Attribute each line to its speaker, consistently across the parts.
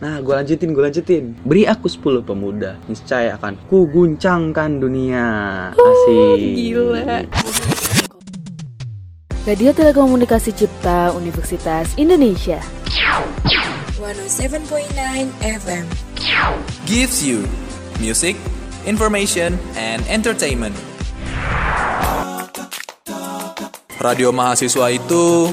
Speaker 1: Nah, gue lanjutin, gue lanjutin. Beri aku 10 pemuda, niscaya akan kuguncangkan dunia. Asik.
Speaker 2: gila.
Speaker 3: Radio Telekomunikasi Cipta Universitas Indonesia.
Speaker 4: 107.9 FM.
Speaker 5: gives you music, information, and entertainment. Radio mahasiswa itu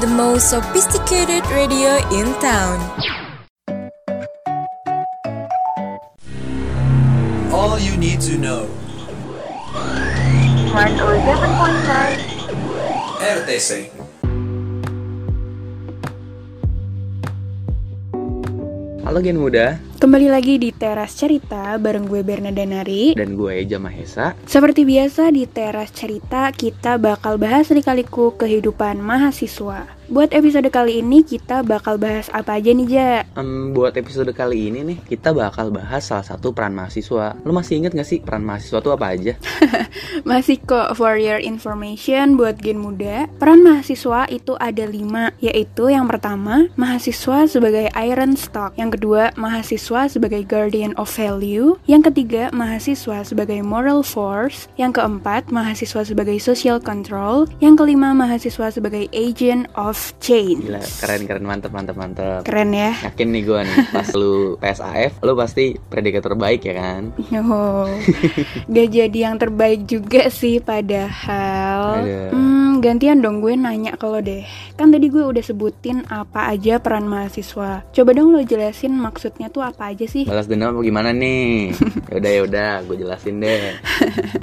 Speaker 4: The most sophisticated radio in town.
Speaker 5: all you need to know.
Speaker 6: 107.9
Speaker 5: RTC.
Speaker 1: Halo Gen Muda,
Speaker 2: Kembali lagi di Teras Cerita bareng gue Bernada Nari.
Speaker 1: dan gue Eja Mahesa.
Speaker 2: Seperti biasa di teras cerita kita bakal bahas dikaliku kehidupan mahasiswa. Buat episode kali ini kita bakal bahas apa aja nih Ja?
Speaker 1: Em, buat episode kali ini nih, kita bakal bahas salah satu peran mahasiswa. Lo masih inget gak sih peran mahasiswa itu apa aja?
Speaker 2: Masih kok for your information buat gen muda Peran mahasiswa itu ada lima Yaitu yang pertama mahasiswa sebagai iron stock Yang kedua mahasiswa sebagai guardian of value Yang ketiga mahasiswa sebagai moral force Yang keempat mahasiswa sebagai social control Yang kelima mahasiswa sebagai agent of change
Speaker 1: Gila, keren-keren, mantep, mantep, mantep.
Speaker 2: Keren ya
Speaker 1: Yakin nih gue nih, pas lu PSAF, lu pasti predikat terbaik ya kan?
Speaker 2: Oh, gak jadi yang terbaik juga sih padahal
Speaker 1: Ada.
Speaker 2: Hmm, gantian dong gue nanya ke lo deh Kan tadi gue udah sebutin apa aja peran mahasiswa Coba dong lo jelasin maksudnya tuh apa aja sih
Speaker 1: balas dendam apa gimana nih? Yaudah yaudah, gue jelasin deh.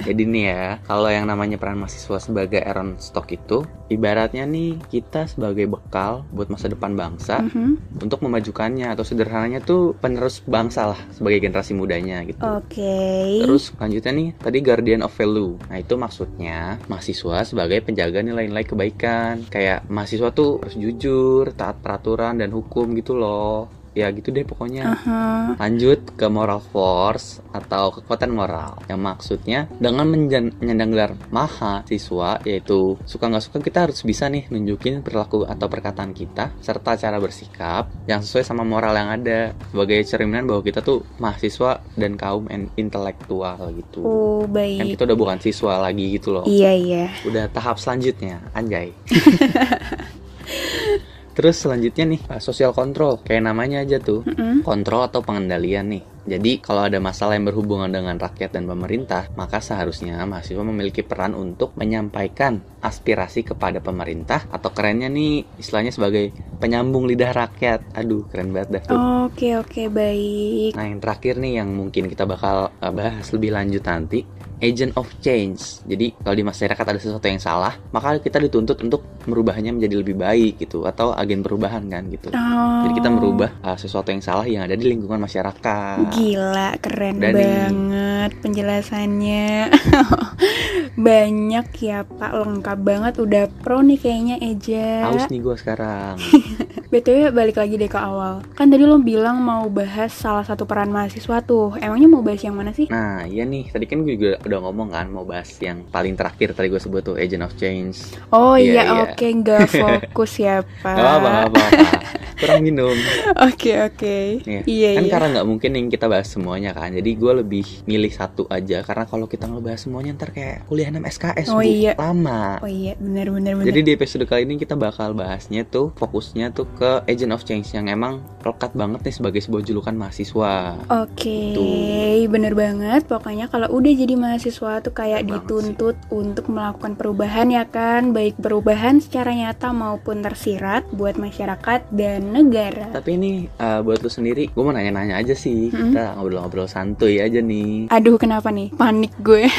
Speaker 1: Jadi nih ya, kalau yang namanya peran mahasiswa sebagai iron stock itu, ibaratnya nih kita sebagai bekal buat masa depan bangsa
Speaker 2: Mhm.
Speaker 1: untuk memajukannya atau sederhananya tuh penerus bangsa lah sebagai generasi mudanya gitu.
Speaker 2: Oke
Speaker 1: Terus lanjutnya nih, tadi guardian of value. Nah itu maksudnya mahasiswa sebagai penjaga nilai-nilai kebaikan. Kayak mahasiswa tuh harus jujur, taat peraturan dan hukum gitu loh. Ya gitu deh pokoknya.
Speaker 2: Aha.
Speaker 1: Lanjut ke moral force atau kekuatan moral yang maksudnya dengan menjan- menyandang gelar mahasiswa yaitu suka nggak suka kita harus bisa nih nunjukin perilaku atau perkataan kita serta cara bersikap yang sesuai sama moral yang ada sebagai cerminan bahwa kita tuh mahasiswa dan kaum en- intelektual gitu.
Speaker 2: Oh
Speaker 1: Kan
Speaker 2: baik
Speaker 1: kita udah bukan siswa lagi gitu loh
Speaker 2: Iya iya
Speaker 1: udah tahap selanjutnya anjay terus selanjutnya nih social control kayak namanya aja tuh
Speaker 2: Mm-mm.
Speaker 1: kontrol atau pengendalian nih jadi kalau ada masalah yang berhubungan dengan rakyat dan pemerintah maka seharusnya mahasiswa memiliki peran untuk menyampaikan aspirasi kepada pemerintah atau kerennya nih istilahnya sebagai penyambung lidah rakyat aduh keren banget dah tuh
Speaker 2: Oke oke baik
Speaker 1: Nah yang terakhir nih yang mungkin kita bakal uh, bahas lebih lanjut nanti Agent of change Jadi kalau di masyarakat ada sesuatu yang salah Maka kita dituntut untuk merubahnya menjadi lebih baik gitu Atau agen perubahan kan gitu Jadi kita
Speaker 2: Oh,
Speaker 1: merubah uh, sesuatu yang salah yang ada di lingkungan masyarakat
Speaker 2: Gila, keren
Speaker 1: Udah nih.
Speaker 2: banget penjelasannya. Banyak ya Pak, lengkap banget. Udah pro nih kayaknya Eja.
Speaker 1: Haus nih gue sekarang
Speaker 2: BTW balik lagi deh ke awal. Kan tadi lo bilang mau bahas salah satu peran mahasiswa tuh. Emangnya mau bahas yang mana sih?
Speaker 1: Nah iya nih tadi kan gue juga udah ngomong kan Mau bahas yang paling terakhir tadi gue sebut tuh Agent of change
Speaker 2: Oh
Speaker 1: Iya,
Speaker 2: iya,
Speaker 1: iya.
Speaker 2: oke nggak fokus ya Pak.
Speaker 1: Gak apa-apa, gak apa-apa Kurang minum
Speaker 2: Oke oke.
Speaker 1: Iya.
Speaker 2: Iya
Speaker 1: kan
Speaker 2: iya.
Speaker 1: karena nggak mungkin yang kita bahas semuanya kan jadi gue lebih milih satu aja karena kalau kita ngebahas semuanya ntar kayak kuliah 6 SKS
Speaker 2: Oh
Speaker 1: Bu.
Speaker 2: iya.
Speaker 1: lama
Speaker 2: Oh iya, benar benar benar.
Speaker 1: jadi di episode kali ini kita bakal bahasnya tuh fokusnya tuh ke Agent of Change yang emang lekat banget nih sebagai sebuah julukan mahasiswa
Speaker 2: Oke,
Speaker 1: Gitu.
Speaker 2: bener banget. Pokoknya kalau udah jadi mahasiswa tuh kayak
Speaker 1: Bener banget
Speaker 2: dituntut untuk melakukan perubahan ya kan, baik perubahan secara nyata maupun tersirat buat masyarakat dan negara.
Speaker 1: tapi ini eh, buat lu sendiri gue mau nanya-nanya aja sih
Speaker 2: Mm-mm.
Speaker 1: kita ngobrol-ngobrol santuy aja nih
Speaker 2: Aduh, kenapa nih? Panik gue.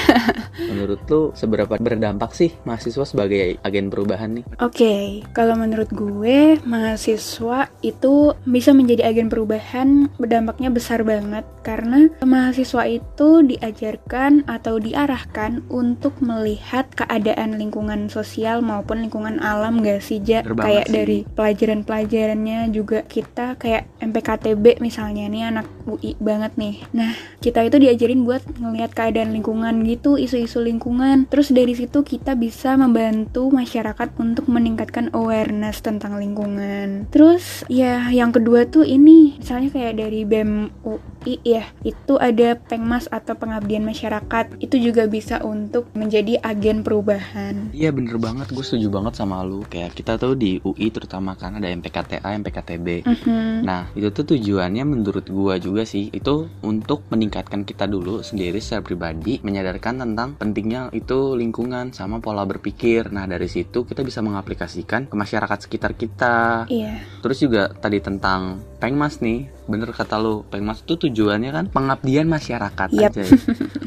Speaker 1: menurut lu seberapa berdampak sih mahasiswa sebagai agen perubahan nih
Speaker 2: Oke, kalau menurut gue, mahasiswa itu bisa menjadi agen perubahan berdampaknya besar banget karena mahasiswa itu diajarkan atau diarahkan untuk melihat keadaan lingkungan sosial maupun lingkungan alam gak sih, Ja?
Speaker 1: Bener banget
Speaker 2: Kayak
Speaker 1: sih.
Speaker 2: dari pelajaran-pelajarannya juga kita kayak MPKTB misalnya nih anak UI banget nih. Nah, kita itu diajarin buat ngelihat keadaan lingkungan gitu, isu-isu lingkungan. Terus dari situ kita bisa membantu masyarakat untuk meningkatkan awareness tentang lingkungan. kan terus ya yang kedua tuh ini misalnya kayak dari E BEM UI ya itu ada pengmas atau pengabdian masyarakat itu juga bisa untuk menjadi agen perubahan
Speaker 1: Iya bener banget, gue setuju banget sama lu Kayak kita tuh di UI terutama karena ada MPKTA, MPKTB
Speaker 2: Mhm.
Speaker 1: Nah, itu tuh tujuannya menurut gua juga sih, itu untuk meningkatkan kita dulu sendiri secara pribadi, menyadarkan tentang pentingnya itu lingkungan sama pola berpikir. Nah, dari situ kita bisa mengaplikasikan ke masyarakat sekitar kita.
Speaker 2: iya
Speaker 1: Terus juga tadi tentang Pengmas nih, bener kata lu, Pengmas itu tujuannya kan pengabdian masyarakat
Speaker 2: Yap.
Speaker 1: aja. ya.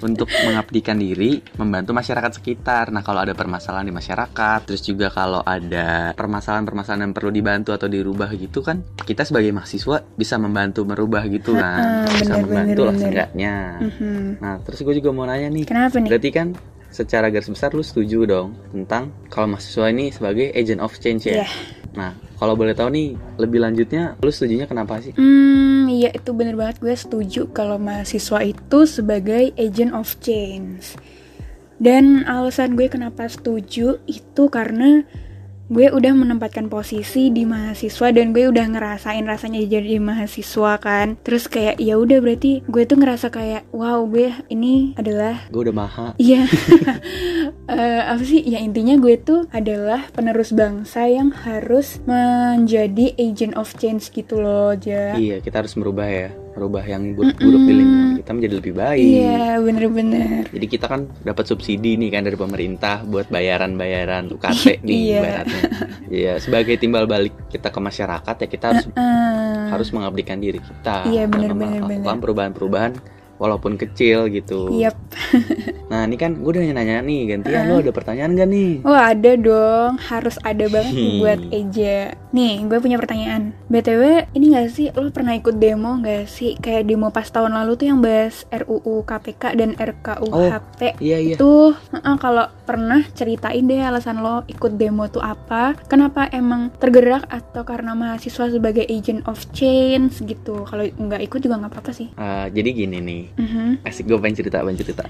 Speaker 1: untuk mengabdikan diri, membantu masyarakat sekitar. Nah, kalau ada permasalahan di masyarakat, terus juga kalau ada permasalahan-permasalahan yang perlu dibantu atau dirubah gitu kan, kita sebagai mahasiswa bisa membantu merubah gitu kan.
Speaker 2: Ha-ha,
Speaker 1: bisa
Speaker 2: bener,
Speaker 1: membantu
Speaker 2: bener,
Speaker 1: lah
Speaker 2: bener.
Speaker 1: seenggaknya.
Speaker 2: Mhm.
Speaker 1: Nah, terus gue juga mau nanya nih,
Speaker 2: kenapa nih
Speaker 1: berarti kan secara garis besar lu setuju dong tentang kalau mahasiswa ini sebagai agent of change ya?
Speaker 2: Iya.
Speaker 1: Nah, kalau boleh tahu nih lebih lanjutnya lu setujunya kenapa sih?
Speaker 2: Hmm, iya itu bener banget gue setuju kalau mahasiswa itu sebagai agent of change. Dan alasan gue kenapa setuju itu karena gue udah menempatkan posisi di mahasiswa dan gue udah ngerasain rasanya jadi mahasiswa kan. Terus kayak ya udah berarti gue tuh ngerasa kayak wow gue ini adalah
Speaker 1: Gue udah maha.
Speaker 2: Iya. Eh, apa sih? Ya intinya gue tuh adalah penerus bangsa yang harus menjadi agent of change gitu loh, Ja.
Speaker 1: Iya, kita harus merubah ya, merubah yang buruk-buruk di lingkungan kita menjadi lebih baik.
Speaker 2: Iya, bener-bener.
Speaker 1: Jadi kita kan dapat subsidi nih kan dari pemerintah buat bayaran-bayaran UKT nih
Speaker 2: Iya.
Speaker 1: ibaratnya. Iya, sebagai timbal balik kita ke masyarakat ya kita harus
Speaker 2: Eh,
Speaker 1: harus mengabdikan diri kita
Speaker 2: Iya, bener,
Speaker 1: dalam
Speaker 2: bener,
Speaker 1: melakukan
Speaker 2: bener. Iya.
Speaker 1: perubahan-perubahan walaupun kecil gitu.
Speaker 2: Yap.
Speaker 1: Nah, ini kan gue udah nanya-nanya nih, gantian lo ada pertanyaan gak nih?
Speaker 2: Wah ada dong, harus ada banget nih
Speaker 1: Hmm.
Speaker 2: buat Eja. Nih, gue punya pertanyaan. BTW, ini gak sih lo pernah ikut demo gak sih? Kayak demo pas tahun lalu tuh yang bahas RUU KPK dan RKUHP.
Speaker 1: Iya, iya.
Speaker 2: Itu heeh, kalau pernah ceritain deh alasan lo ikut demo tuh apa? Kenapa emang tergerak atau karena mahasiswa sebagai agent of change gitu? Kalau nggak ikut juga nggak apa-apa sih.
Speaker 1: Eh, jadi gini nih,
Speaker 2: Mhm.
Speaker 1: asik gue pengen cerita, pengen cerita.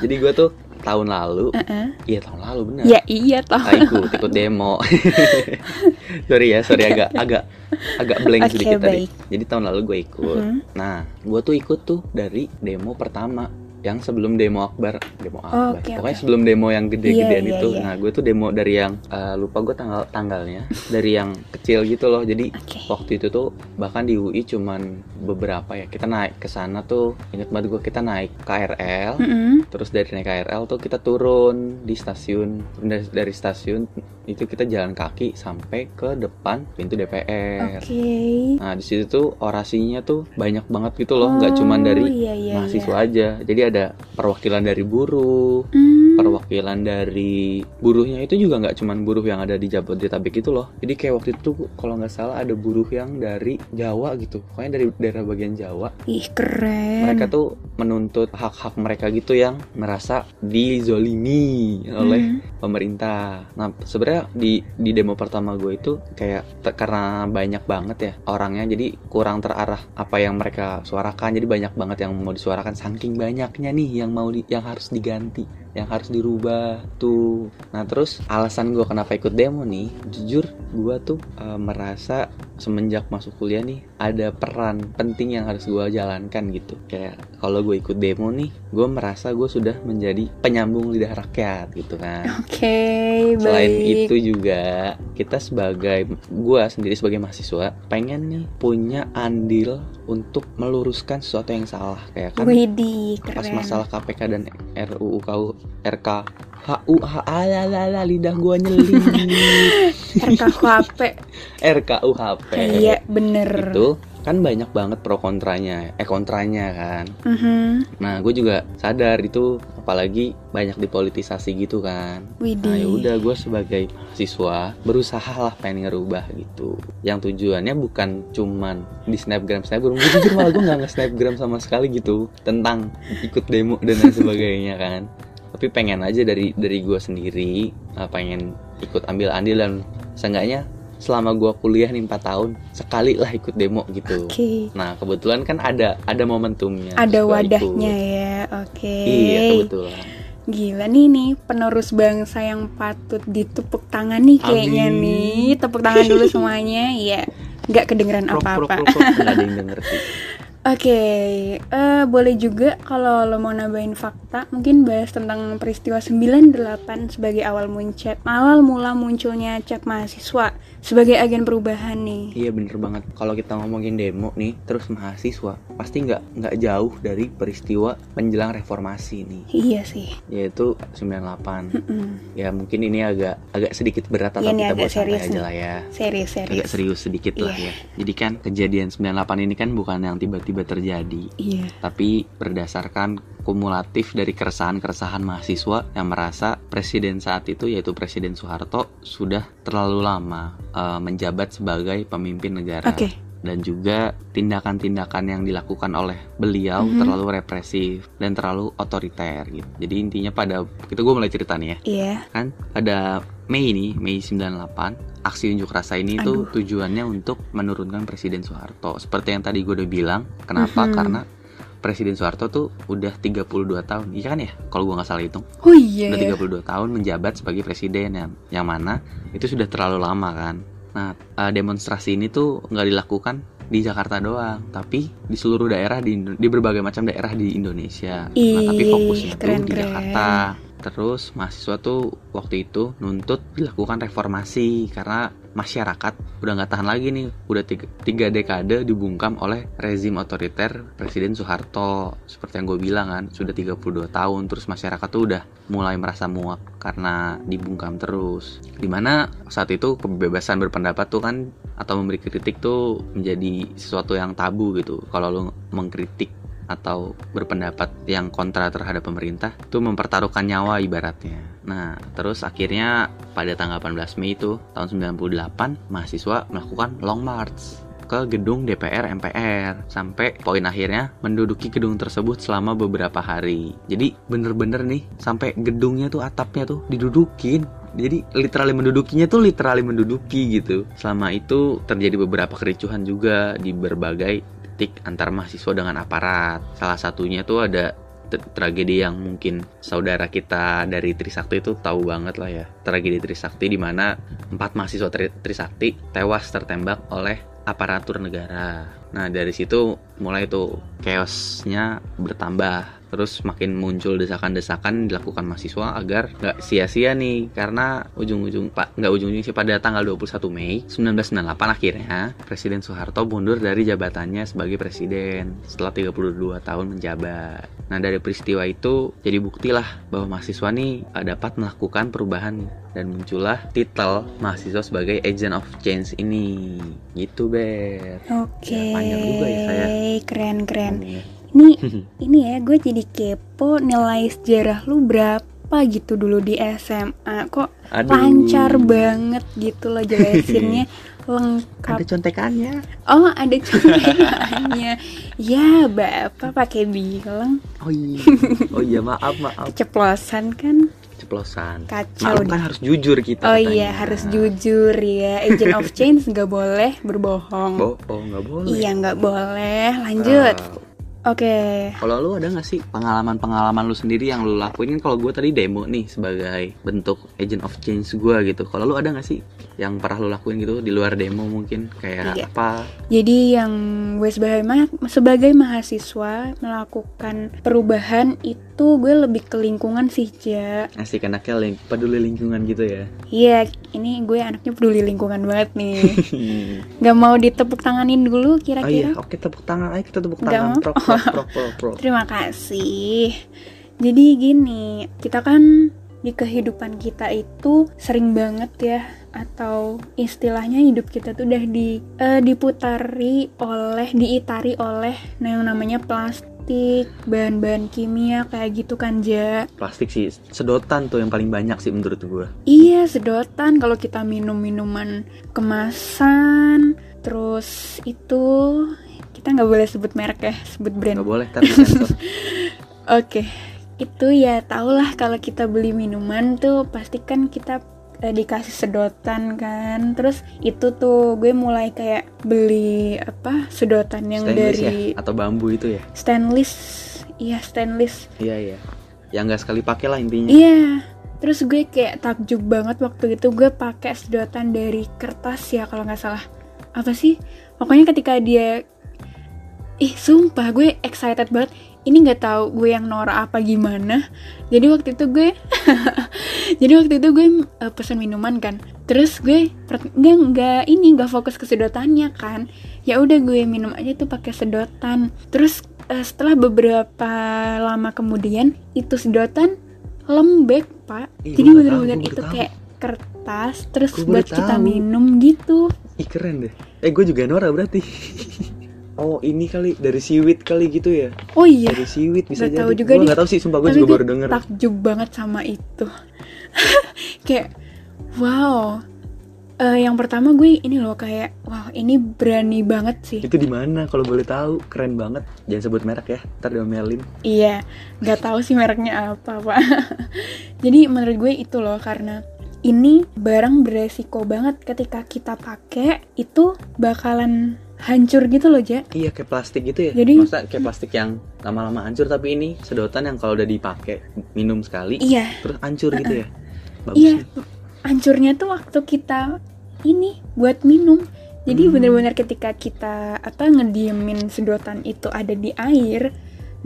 Speaker 1: jadi gue tuh tahun lalu,
Speaker 2: Heeh.
Speaker 1: iya tahun lalu bener.
Speaker 2: Ya Eh. iya toh.
Speaker 1: Ah, ikut ikut demo sorry ya sorry agak agak agak blank
Speaker 2: Oke,
Speaker 1: sedikit tadi
Speaker 2: baik.
Speaker 1: jadi tahun lalu gue ikut
Speaker 2: Mhm.
Speaker 1: nah gue tuh ikut tuh dari demo pertama yang sebelum demo akbar demo akbar
Speaker 2: Oh, oke,
Speaker 1: pokoknya
Speaker 2: oke.
Speaker 1: sebelum demo yang gede-gedean
Speaker 2: Iya, iya,
Speaker 1: itu
Speaker 2: iya.
Speaker 1: nah gue tuh demo dari yang eh, lupa gue tanggal tanggalnya dari yang kecil gitu loh jadi
Speaker 2: Oke.
Speaker 1: waktu itu tuh bahkan di UI cuman beberapa ya kita naik ke sana tuh inget banget gue kita naik KRL
Speaker 2: Mhm.
Speaker 1: Terus dari naik KRL tuh kita turun di stasiun dari, dari stasiun itu kita jalan kaki sampai ke depan pintu DPR.
Speaker 2: Oke.
Speaker 1: Nah di situ tuh orasinya tuh banyak banget gitu loh, nggak cuman dari
Speaker 2: Oh, iya, iya,
Speaker 1: mahasiswa aja. Jadi ada perwakilan dari buruh,
Speaker 2: iya. Hmm.
Speaker 1: perwakilan dari buruhnya itu juga nggak cuman buruh yang ada di Jabodetabek itu loh jadi kayak waktu itu kalau nggak salah ada buruh yang dari Jawa gitu pokoknya dari daerah bagian Jawa
Speaker 2: Ih keren.
Speaker 1: mereka tuh menuntut hak-hak mereka gitu yang merasa dizolimi oleh
Speaker 2: Hmm.
Speaker 1: pemerintah. Nah sebenarnya di di demo pertama gue itu kayak te- karena banyak banget ya orangnya jadi kurang terarah apa yang mereka suarakan jadi banyak banget yang mau disuarakan saking banyaknya nih yang mau di, yang harus diganti yang harus dirubah tuh. Nah terus alasan gue kenapa ikut demo nih jujur gue tuh eh, merasa semenjak masuk kuliah nih ada peran penting yang harus gue jalankan gitu kayak kalau gue ikut demo nih gue merasa gue sudah menjadi penyambung lidah rakyat gitu kan
Speaker 2: Oke,
Speaker 1: selain
Speaker 2: baik.
Speaker 1: itu juga kita sebagai gue sendiri sebagai mahasiswa pengen nih punya andil untuk meluruskan sesuatu yang salah kayak kan
Speaker 2: Widih, keren.
Speaker 1: pas masalah KPK dan RUU KU RK HU alalala lidah gue nyelip
Speaker 2: RKUHP.
Speaker 1: RKUHP
Speaker 2: Iya, bener.
Speaker 1: itu kan banyak banget pro kontranya eh kontranya kan
Speaker 2: Mhm.
Speaker 1: nah gue juga sadar itu apalagi banyak dipolitisasi gitu kan
Speaker 2: Widih.
Speaker 1: nah yaudah gue sebagai mahasiswa berusaha lah pengen ngerubah gitu yang tujuannya bukan cuman di snapgram snapgram gue jujur malah gue nggak nge snapgram sama sekali gitu tentang ikut demo dan lain sebagainya kan tapi pengen aja dari dari gue sendiri eh, pengen ikut ambil andil dan seenggaknya selama gue kuliah nih 4 tahun sekali lah ikut demo gitu
Speaker 2: Oke.
Speaker 1: Nah kebetulan kan ada ada momentumnya.
Speaker 2: Ada
Speaker 1: terus gua
Speaker 2: wadahnya
Speaker 1: ikut.
Speaker 2: ya. Oke.
Speaker 1: Iya kebetulan.
Speaker 2: Gila nih nih, penerus bangsa yang patut ditepuk tangan nih kayaknya
Speaker 1: Amin.
Speaker 2: nih. Tepuk tangan dulu semuanya, ya. Nggak kedengeran apa-apa.
Speaker 1: nggak ada yang denger sih
Speaker 2: Oke, eh, boleh juga kalau lo mau nambahin fakta, mungkin bahas tentang peristiwa 98 sebagai awal muncul awal mula munculnya cek mahasiswa sebagai agen perubahan nih.
Speaker 1: Iya bener banget. Kalau kita ngomongin demo nih, terus mahasiswa pasti nggak nggak jauh dari peristiwa menjelang reformasi nih,
Speaker 2: Iya sih. Hmm,
Speaker 1: yaitu 98.
Speaker 2: Mm-mm.
Speaker 1: Ya mungkin ini agak agak sedikit berat atau
Speaker 2: Iya nih,
Speaker 1: kita
Speaker 2: agak
Speaker 1: buat santai
Speaker 2: serius
Speaker 1: aja
Speaker 2: nih.
Speaker 1: lah ya.
Speaker 2: Serius,
Speaker 1: Agak
Speaker 2: serius.
Speaker 1: serius sedikit lah
Speaker 2: Iya.
Speaker 1: ya. Jadi kan kejadian 98 ini kan bukan yang tiba-tiba terjadi,
Speaker 2: Iya.
Speaker 1: tapi berdasarkan kumulatif dari keresahan-keresahan mahasiswa yang merasa presiden saat itu yaitu Presiden Soeharto sudah terlalu lama eh, menjabat sebagai pemimpin negara
Speaker 2: Oke.
Speaker 1: dan juga tindakan-tindakan yang dilakukan oleh beliau
Speaker 2: Mhm.
Speaker 1: terlalu represif dan terlalu otoriter gitu. Jadi intinya pada kita gue mulai cerita nih ya.
Speaker 2: Iya.
Speaker 1: Kan pada Mei ini, Mei 98, aksi unjuk rasa ini tuh tujuannya untuk menurunkan Presiden Soeharto. Seperti yang tadi gue udah bilang, kenapa?
Speaker 2: Mhm.
Speaker 1: Karena Presiden Soeharto tuh udah 32 tahun. Iya kan ya? Kalau gue nggak salah hitung,
Speaker 2: Oh iya.
Speaker 1: udah
Speaker 2: ya.
Speaker 1: 32 tahun menjabat sebagai presiden yang, yang mana itu sudah terlalu lama kan. Nah, eh, demonstrasi ini tuh nggak dilakukan di Jakarta doang, tapi di seluruh daerah di Indo- di berbagai macam daerah di Indonesia. nah, tapi
Speaker 2: Ih,
Speaker 1: fokusnya tuh di
Speaker 2: keren-keren.
Speaker 1: Jakarta. Terus mahasiswa tuh waktu itu nuntut dilakukan reformasi karena masyarakat udah nggak tahan lagi nih, udah tiga, tiga dekade dibungkam oleh rezim otoriter Presiden Soeharto. Seperti yang gue bilang kan, sudah 32 tahun terus masyarakat tuh udah mulai merasa muak karena dibungkam terus. Dimana saat itu kebebasan berpendapat tuh kan atau memberi kritik tuh menjadi sesuatu yang tabu gitu. Kalau lo mengkritik atau berpendapat yang kontra terhadap pemerintah itu mempertaruhkan nyawa ibaratnya. Nah, terus akhirnya pada tanggal 18 Mei itu tahun 98 mahasiswa melakukan long march ke gedung DPR MPR sampai poin akhirnya menduduki gedung tersebut selama beberapa hari. Jadi bener-bener nih sampai gedungnya tuh atapnya tuh didudukin jadi literally mendudukinya tuh literally menduduki gitu. Selama itu terjadi beberapa kericuhan juga di berbagai titik antar mahasiswa dengan aparat. Salah satunya tuh ada t- tragedi yang mungkin saudara kita dari Trisakti itu tahu banget lah ya. Tragedi Trisakti di mana empat mahasiswa Tri- Trisakti tewas tertembak oleh aparatur negara. Nah dari situ mulai tuh chaosnya bertambah. Terus makin muncul desakan-desakan dilakukan mahasiswa agar nggak sia-sia nih karena ujung-ujung pak nggak ujung-ujung sih pada tanggal 21 Mei 1998 Nah, akhirnya Presiden Soeharto mundur dari jabatannya sebagai presiden setelah 32 tahun menjabat. Nah dari peristiwa itu jadi buktilah bahwa mahasiswa nih eh, dapat melakukan perubahan dan muncullah titel mahasiswa sebagai agent of change ini gitu ber
Speaker 2: Oke.
Speaker 1: Ya, panjang juga ya saya.
Speaker 2: Keren-keren.
Speaker 1: Ini.
Speaker 2: Ini
Speaker 1: Hmm.
Speaker 2: ini ya gue jadi kepo nilai sejarah lu berapa gitu dulu di SMA kok
Speaker 1: Aduh.
Speaker 2: lancar banget gitu lo jelasinnya lengkap
Speaker 1: ada contekannya
Speaker 2: oh ada contohnya ya bapak pakai bilang
Speaker 1: oh iya oh iya maaf maaf
Speaker 2: keceplosan kan
Speaker 1: ceplosan
Speaker 2: kacau
Speaker 1: maklum kan harus jujur kita
Speaker 2: oh
Speaker 1: katanya.
Speaker 2: iya harus jujur ya agent of change nggak boleh berbohong
Speaker 1: bohong nggak boleh
Speaker 2: iya nggak boleh lanjut
Speaker 1: Ah,
Speaker 2: oke
Speaker 1: kalau lu ada nggak sih pengalaman-pengalaman lu sendiri yang lu lakuin kan kalau gue tadi demo nih sebagai bentuk agent of change gue gitu kalau lu ada nggak sih yang pernah lu lakuin gitu di luar demo mungkin kayak
Speaker 2: Iya.
Speaker 1: apa
Speaker 2: Jadi yang gue sebagai, ma- sebagai mahasiswa melakukan perubahan itu gue lebih ke lingkungan sih, Ja.
Speaker 1: asik enaknya ling- peduli lingkungan gitu ya
Speaker 2: Iya, ini gue anaknya peduli lingkungan banget nih. Gak mau ditepuk tanganin
Speaker 1: oh
Speaker 2: dulu
Speaker 1: iya
Speaker 2: kira-kira.
Speaker 1: Oh oke tepuk tangan ayo kita tepuk
Speaker 2: Nggak
Speaker 1: tangan
Speaker 2: mau.
Speaker 1: prok prok prok prok prok.
Speaker 2: Terima kasih. Jadi gini, kita kan di kehidupan kita itu sering banget ya atau istilahnya hidup kita tuh udah di eh, diputari oleh diitari oleh nah yang namanya plastik, bahan-bahan kimia kayak gitu kan Ja.
Speaker 1: plastik sih sedotan tuh yang paling banyak sih menurut gue
Speaker 2: Iya, sedotan kalau kita minum minuman kemasan, terus itu kita nggak boleh sebut merek ya, sebut brand.
Speaker 1: nggak boleh tapi sensor
Speaker 2: Oke, itu ya tahulah kalau kita beli minuman tuh pasti kan kita eh, dikasih sedotan kan. Terus itu tuh gue mulai kayak beli apa sedotan yang
Speaker 1: stainless
Speaker 2: dari
Speaker 1: ya atau bambu itu ya
Speaker 2: stainless, iya stainless.
Speaker 1: iya iya yang nggak sekali pakai lah intinya
Speaker 2: Iya. Terus gue kayak takjub banget waktu itu gue pakai sedotan dari kertas ya kalau nggak salah. Apa sih? Pokoknya ketika dia Ih, sumpah gue excited banget. Ini nggak tahu gue yang norak apa gimana. Jadi waktu itu gue Jadi waktu itu gue eh, pesan minuman kan. Terus gue per- nggak nggak ini nggak fokus ke sedotannya kan. Ya udah gue minum aja tuh pakai sedotan. Terus eh, setelah beberapa lama kemudian itu sedotan lembek pak
Speaker 1: Ih, gua
Speaker 2: jadi
Speaker 1: baru
Speaker 2: bener-bener
Speaker 1: tahu, gua
Speaker 2: itu
Speaker 1: baru
Speaker 2: kayak kertas terus
Speaker 1: Gua
Speaker 2: buat
Speaker 1: baru
Speaker 2: kita
Speaker 1: tahu.
Speaker 2: minum gitu
Speaker 1: Ih keren deh. Eh gue juga Nora berarti. oh ini kali dari siwit kali gitu ya.
Speaker 2: oh iya
Speaker 1: Dari siwit bisa
Speaker 2: Nggak tahu
Speaker 1: jadi.
Speaker 2: juga
Speaker 1: Gue
Speaker 2: nih.
Speaker 1: nggak tahu sih. Sumpah gue
Speaker 2: Tapi
Speaker 1: juga baru denger.
Speaker 2: takjub banget sama itu kayak wow Eh, yang pertama gue ini loh kayak wow ini berani banget sih
Speaker 1: Itu di mana kalau boleh tahu? Keren banget. Jangan sebut merek ya. Ntar diomelin.
Speaker 2: Iya, nggak tahu sih mereknya apa, Pak. Jadi menurut gue itu loh karena ini barang beresiko banget ketika kita pakai itu bakalan hancur gitu loh, Ja.
Speaker 1: Iya kayak plastik gitu ya.
Speaker 2: Jadi-
Speaker 1: Masa kayak plastik yang lama-lama hancur tapi ini sedotan yang kalau udah dipakai minum sekali
Speaker 2: Iya,
Speaker 1: terus hancur gitu ya. Bagus.
Speaker 2: iya.
Speaker 1: nih.
Speaker 2: Hancurnya tuh waktu kita ini buat minum. Jadi
Speaker 1: Hmm.
Speaker 2: bener-bener ketika kita apa ngediemin sedotan itu ada di air,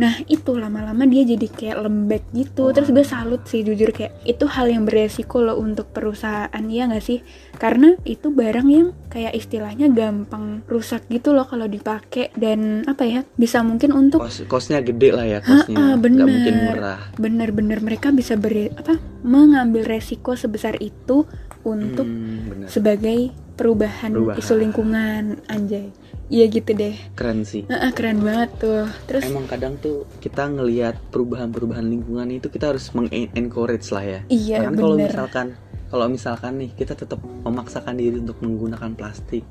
Speaker 2: nah itu lama-lama dia jadi kayak lembek gitu. Terus gue salut sih jujur kayak itu hal yang beresiko loh untuk perusahaan ya nggak sih? karena itu barang yang kayak istilahnya gampang rusak gitu loh kalau dipakai dan apa ya bisa mungkin untuk
Speaker 1: Kos kosnya gede lah ya kosnya.
Speaker 2: Ha-ha, bener.
Speaker 1: Nggak mungkin murah.
Speaker 2: bener-bener mereka bisa beri apa mengambil resiko sebesar itu untuk
Speaker 1: Hmm, bener.
Speaker 2: sebagai perubahan,
Speaker 1: Perubahan.
Speaker 2: isu lingkungan anjay iya gitu deh
Speaker 1: Keren sih.
Speaker 2: Heeh, keren banget tuh terus
Speaker 1: Emang kadang tuh kita ngelihat perubahan-perubahan lingkungan itu kita harus meng-encourage lah ya.
Speaker 2: iya
Speaker 1: Karena kalau
Speaker 2: bener
Speaker 1: misalkan kalau misalkan nih kita tetap memaksakan diri untuk menggunakan plastik,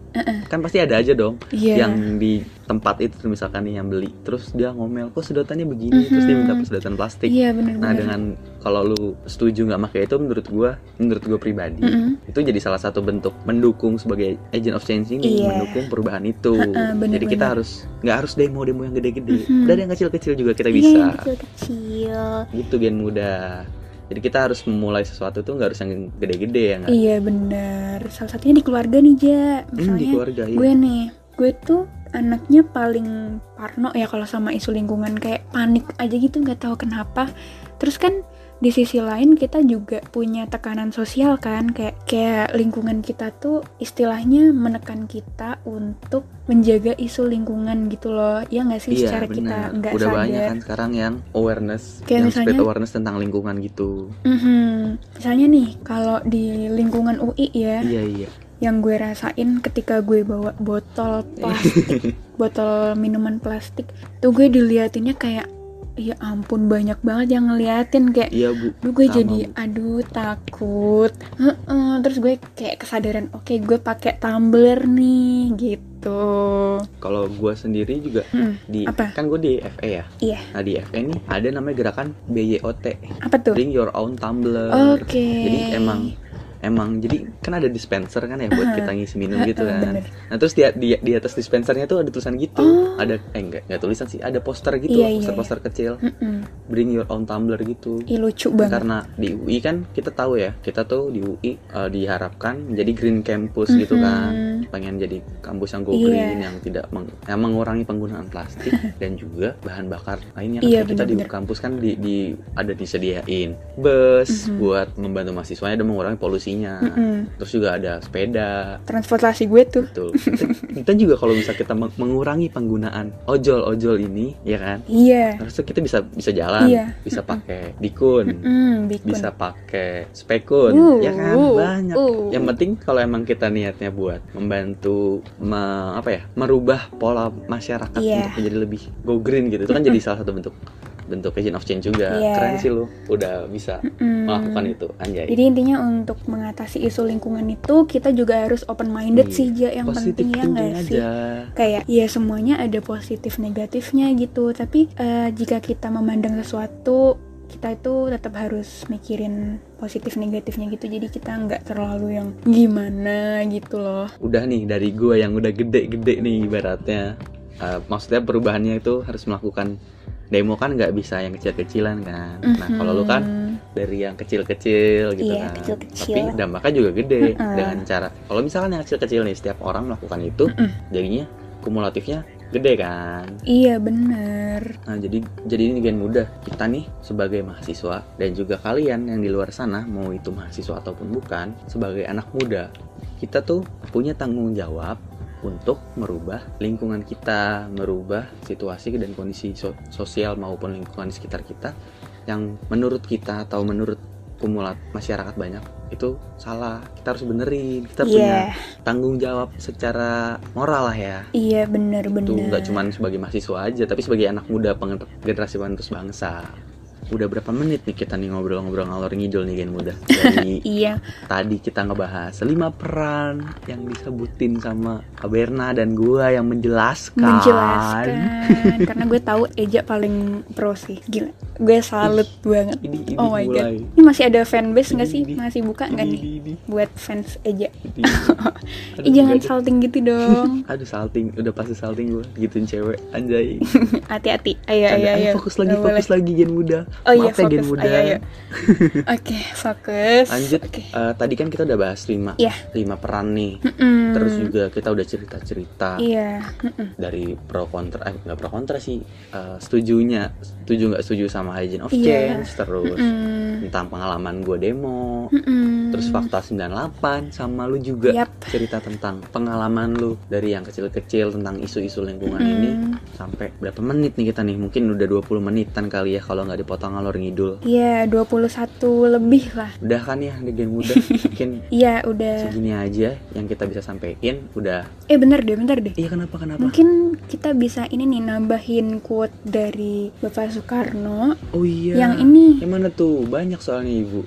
Speaker 1: kan pasti ada aja dong
Speaker 2: iya
Speaker 1: yang di tempat itu misalkan nih yang beli, terus dia ngomel kok sedotannya begini, terus dia minta
Speaker 2: Mhm.
Speaker 1: sedotan plastik.
Speaker 2: iya bener
Speaker 1: Nah
Speaker 2: bener
Speaker 1: dengan kalau lu setuju nggak pakai itu menurut gua, menurut gua pribadi
Speaker 2: Mm-mm.
Speaker 1: itu jadi salah satu bentuk mendukung sebagai agent of change ini
Speaker 2: Iya.
Speaker 1: mendukung perubahan itu
Speaker 2: Ha-ha, bener-bener.
Speaker 1: jadi kita harus nggak harus demo-demo yang gede-gede
Speaker 2: Mhm.
Speaker 1: dari yang kecil-kecil juga kita
Speaker 2: Iya,
Speaker 1: bisa
Speaker 2: yang kecil-kecil
Speaker 1: gitu gen muda jadi kita harus memulai sesuatu tuh nggak harus yang gede-gede ya nggak
Speaker 2: iya bener salah satunya di keluarga nih ja
Speaker 1: Hmm, di
Speaker 2: misalnya
Speaker 1: keluarga ya
Speaker 2: gue nih gue tuh anaknya paling parno ya kalau sama isu lingkungan kayak panik aja gitu nggak tahu kenapa terus kan di sisi lain kita juga punya tekanan sosial kan kayak kayak lingkungan kita tuh istilahnya menekan kita untuk menjaga isu lingkungan gitu loh ya nggak
Speaker 1: iya
Speaker 2: sih secara kita
Speaker 1: benar
Speaker 2: nggak
Speaker 1: udah banyak
Speaker 2: sadar
Speaker 1: kan sekarang yang awareness
Speaker 2: Kayak
Speaker 1: yang spread
Speaker 2: misalnya-
Speaker 1: awareness tentang lingkungan gitu
Speaker 2: Mhm. misalnya nih kalau di lingkungan UI ya
Speaker 1: iya iya
Speaker 2: yang gue rasain ketika gue bawa botol plastik botol minuman plastik tuh gue diliatinnya kayak ya ampun banyak banget yang ngeliatin kayak
Speaker 1: iya bu
Speaker 2: Duh gue
Speaker 1: Sama,
Speaker 2: jadi aduh takut Heeh, terus gue kayak kesadaran oke gue pakai tumbler nih gitu
Speaker 1: kalau gue sendiri juga
Speaker 2: Mm,
Speaker 1: di
Speaker 2: Apa?
Speaker 1: kan gue di FE ya
Speaker 2: Iya.
Speaker 1: nah di FE nih ada namanya gerakan BYOT
Speaker 2: apa tuh
Speaker 1: bring your own tumbler
Speaker 2: oke
Speaker 1: jadi emang emang jadi kan ada dispenser kan ya buat kita ngisi minum gitu
Speaker 2: Heeh,
Speaker 1: kan
Speaker 2: bener.
Speaker 1: nah terus di, di, di atas dispensernya tuh ada tulisan gitu
Speaker 2: Oh.
Speaker 1: ada eh enggak enggak tulisan sih ada poster gitu
Speaker 2: Iya, iya,
Speaker 1: poster poster kecil
Speaker 2: Mm-mm.
Speaker 1: bring your own tumbler gitu
Speaker 2: Ih, lucu banget
Speaker 1: karena di UI kan kita tahu ya kita tuh di UI eh, diharapkan menjadi green campus gitu kan
Speaker 2: Mhm.
Speaker 1: pengen jadi kampus yang go
Speaker 2: Iya.
Speaker 1: green yang tidak meng- yang mengurangi penggunaan plastik dan juga bahan bakar lainnya
Speaker 2: Iya,
Speaker 1: kita di
Speaker 2: benar-benar.
Speaker 1: kampus kan di, di- ada disediain bus
Speaker 2: Mhm.
Speaker 1: buat membantu mahasiswanya dan mengurangi polusinya
Speaker 2: Mm-mm.
Speaker 1: terus juga ada sepeda
Speaker 2: transportasi gue tuh
Speaker 1: betul kita juga kalau bisa kita meng- mengurangi penggunaan ojol ojol ini ya kan
Speaker 2: iya
Speaker 1: harusnya kita bisa bisa jalan
Speaker 2: Iya.
Speaker 1: bisa pakai dikun
Speaker 2: Mm, bikun.
Speaker 1: bisa pakai spekun
Speaker 2: Uh,
Speaker 1: ya kan
Speaker 2: uh,
Speaker 1: banyak
Speaker 2: uh.
Speaker 1: yang penting kalau emang kita niatnya buat membantu me- apa ya merubah pola masyarakat
Speaker 2: Iya.
Speaker 1: untuk menjadi lebih go green gitu itu kan jadi salah satu bentuk bentuk agent of change juga
Speaker 2: Iya.
Speaker 1: keren sih lu udah bisa
Speaker 2: Mm.
Speaker 1: melakukan itu anjay
Speaker 2: Jadi intinya untuk mengatasi isu lingkungan itu kita juga harus open minded
Speaker 1: Iya.
Speaker 2: sih Ja yang
Speaker 1: positif
Speaker 2: penting ya
Speaker 1: thinking
Speaker 2: nggak sih?
Speaker 1: aja
Speaker 2: Kayak ya semuanya ada positif negatifnya gitu, tapi eh, jika kita memandang sesuatu kita itu tetap harus mikirin positif negatifnya gitu jadi kita nggak terlalu yang gimana gitu loh
Speaker 1: udah nih dari gua yang udah gede-gede nih ibaratnya Eh, maksudnya perubahannya itu harus melakukan demo kan nggak bisa yang kecil-kecilan kan nah kalau
Speaker 2: Mhm.
Speaker 1: lu kan dari yang kecil-kecil gitu
Speaker 2: Iya,
Speaker 1: kan
Speaker 2: kecil-kecil.
Speaker 1: tapi dampaknya juga gede
Speaker 2: Mm-mm.
Speaker 1: dengan cara kalau misalnya yang kecil-kecil nih setiap orang melakukan itu jadinya kumulatifnya gede kan
Speaker 2: Iya bener
Speaker 1: Nah, jadi jadi ini gen muda kita nih sebagai mahasiswa dan juga kalian yang di luar sana mau itu mahasiswa ataupun bukan sebagai anak muda kita tuh punya tanggung jawab untuk merubah lingkungan kita, merubah situasi dan kondisi so- sosial maupun lingkungan di sekitar kita yang menurut kita atau menurut kumulat masyarakat banyak itu salah. Kita harus benerin. Kita punya
Speaker 2: Iya
Speaker 1: tanggung jawab secara moral lah ya
Speaker 2: Iya bener
Speaker 1: itu
Speaker 2: bener
Speaker 1: nggak cuman sebagai mahasiswa aja tapi sebagai anak muda pengen generasi penerus bangsa udah berapa menit nih kita nih ngobrol-ngobrol ngalor ngidul nih gen muda dari
Speaker 2: Iya
Speaker 1: tadi kita ngebahas lima peran yang disebutin sama Kaberna dan gua yang menjelaskan,
Speaker 2: menjelaskan Karena gue tahu Eja paling pro sih Gila Gue salut banget
Speaker 1: ini ini
Speaker 2: Oh my god
Speaker 1: mulai
Speaker 2: Ini masih ada fanbase nggak sih?
Speaker 1: Ini, ini.
Speaker 2: Masih buka
Speaker 1: ini
Speaker 2: nggak nih?
Speaker 1: ini ini,
Speaker 2: Buat fans Eja
Speaker 1: ini. Aduh,
Speaker 2: Ih jangan
Speaker 1: nggak ada.
Speaker 2: salting gitu dong
Speaker 1: aduh salting udah pasti salting gua gituin cewek anjay
Speaker 2: Hati-hati Ayo
Speaker 1: Canda.
Speaker 2: ayo
Speaker 1: ayo
Speaker 2: ayo
Speaker 1: fokus lagi
Speaker 2: Nggak
Speaker 1: fokus
Speaker 2: Iya, boleh.
Speaker 1: lagi gen muda
Speaker 2: Oh iya
Speaker 1: Maaf ya, gen
Speaker 2: fokus
Speaker 1: muda
Speaker 2: Ayo ayo Oke fokus
Speaker 1: lanjut
Speaker 2: Oke
Speaker 1: eh, tadi kan kita udah bahas lima
Speaker 2: Iya.
Speaker 1: lima peran nih
Speaker 2: Mm,
Speaker 1: terus juga kita udah cerita cerita
Speaker 2: Iya Mm-mm.
Speaker 1: dari pro kontra eh nggak pro kontra sih eh, setujunya setuju nggak setuju sama agent of
Speaker 2: Iya.
Speaker 1: change terus
Speaker 2: Mm,
Speaker 1: tentang pengalaman gue demo
Speaker 2: mm-mm.
Speaker 1: terus fakta 98 sama lu juga
Speaker 2: Yap.
Speaker 1: cerita tentang pengalaman lu dari yang kecil-kecil tentang isu-isu lingkungan
Speaker 2: Mm.
Speaker 1: ini sampai berapa menit nih kita nih mungkin udah 20 menitan kali ya kalau nggak dipotong alur ngidul
Speaker 2: Iya 21 lebih lah
Speaker 1: udah kan ya di gen muda mungkin
Speaker 2: Iya udah
Speaker 1: segini aja yang kita bisa sampein udah
Speaker 2: Eh bener deh bentar deh
Speaker 1: iya kenapa kenapa
Speaker 2: Mungkin kita bisa ini nih nambahin quote dari Bapak Soekarno
Speaker 1: oh iya
Speaker 2: Yang ini
Speaker 1: yang mana tuh banyak soalnya ibu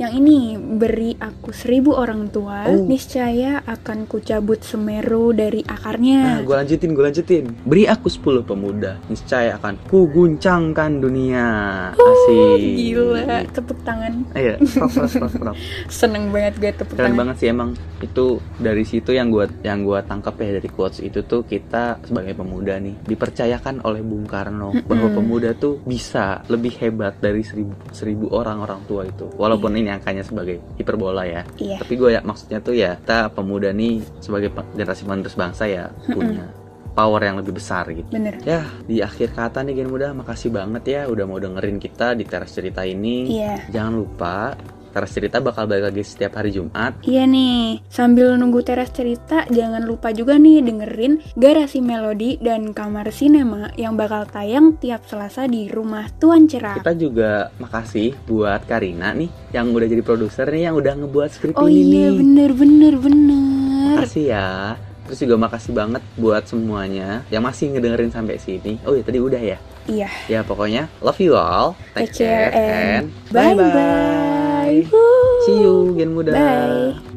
Speaker 2: Yang ini beri aku seribu orang tua,
Speaker 1: Oh.
Speaker 2: niscaya akan kucabut Semeru dari
Speaker 1: nah
Speaker 2: akarnya.
Speaker 1: gue lanjutin gue lanjutin beri aku 10 pemuda niscaya akan ku guncangkan dunia asik
Speaker 2: Gila, tepuk tangan.
Speaker 1: Iya, prop, prop, prop, prop.
Speaker 2: Seneng banget gue tepuk
Speaker 1: keren
Speaker 2: tangan.
Speaker 1: banget sih emang itu dari situ yang gua yang gua tangkap ya dari quotes itu tuh kita sebagai pemuda nih dipercayakan oleh Bung Karno bahwa pemuda tuh bisa lebih hebat dari seribu, seribu orang orang tua itu walaupun ini angkanya sebagai hiperbola ya
Speaker 2: Iya.
Speaker 1: tapi gue ya maksudnya tuh ya kita pemuda nih sebagai pe- generasi penerus bangsa ya punya power yang lebih besar gitu
Speaker 2: Bener.
Speaker 1: Ya, di akhir kata nih Gen Muda, makasih banget ya udah mau dengerin kita di teras cerita ini.
Speaker 2: Iya.
Speaker 1: Jangan lupa, teras cerita bakal balik lagi setiap hari Jumat.
Speaker 2: Iya nih, sambil nunggu teras cerita, jangan lupa juga nih dengerin Garasi Melodi dan Kamar Sinema yang bakal tayang tiap Selasa di rumah Tuan Cerah.
Speaker 1: Kita juga makasih buat Karina nih yang udah jadi produser nih yang udah ngebuat skrip
Speaker 2: Oh
Speaker 1: ini
Speaker 2: iya,
Speaker 1: nih.
Speaker 2: bener, bener, bener.
Speaker 1: Makasih ya. Terus juga makasih banget buat semuanya yang masih ngedengerin sampai sini. Oh iya tadi udah ya.
Speaker 2: Iya.
Speaker 1: Ya pokoknya love you all. Take, care and
Speaker 2: Bye-bye.
Speaker 1: bye-bye. See you Gen Muda.
Speaker 2: Bye.